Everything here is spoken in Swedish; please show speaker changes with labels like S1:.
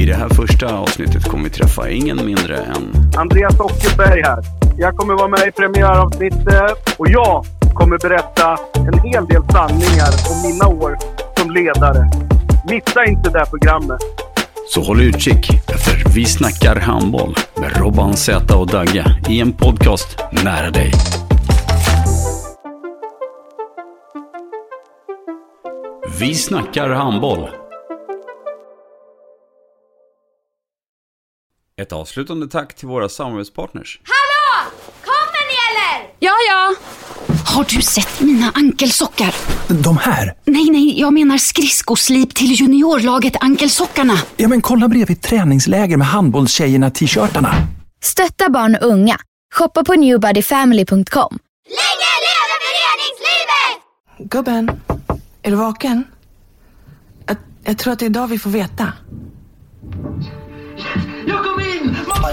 S1: I det här första avsnittet kommer vi träffa ingen mindre än
S2: Andreas Ockelberg här. Jag kommer vara med i premiäravsnittet och jag kommer berätta en hel del sanningar om mina år som ledare. Missa inte det här programmet.
S1: Så håll utkik efter Vi snackar handboll med Robban Z och Dagge i en podcast nära dig. Vi snackar handboll. Ett avslutande tack till våra samarbetspartners.
S3: Hallå! Kommer ni eller?
S4: Ja, ja. Har du sett mina ankelsockar?
S5: De här?
S4: Nej, nej, jag menar skridskoslip till juniorlaget Ankelsockarna.
S5: Ja, men kolla bredvid träningsläger med handbollstjejerna-t-shirtarna.
S6: Stötta barn och unga. Shoppa på newbodyfamily.com.
S3: Länge leve föreningslivet!
S7: Gubben, är du vaken? Jag, jag tror att det är idag vi får veta.
S8: Jag kom in!
S2: Mamma,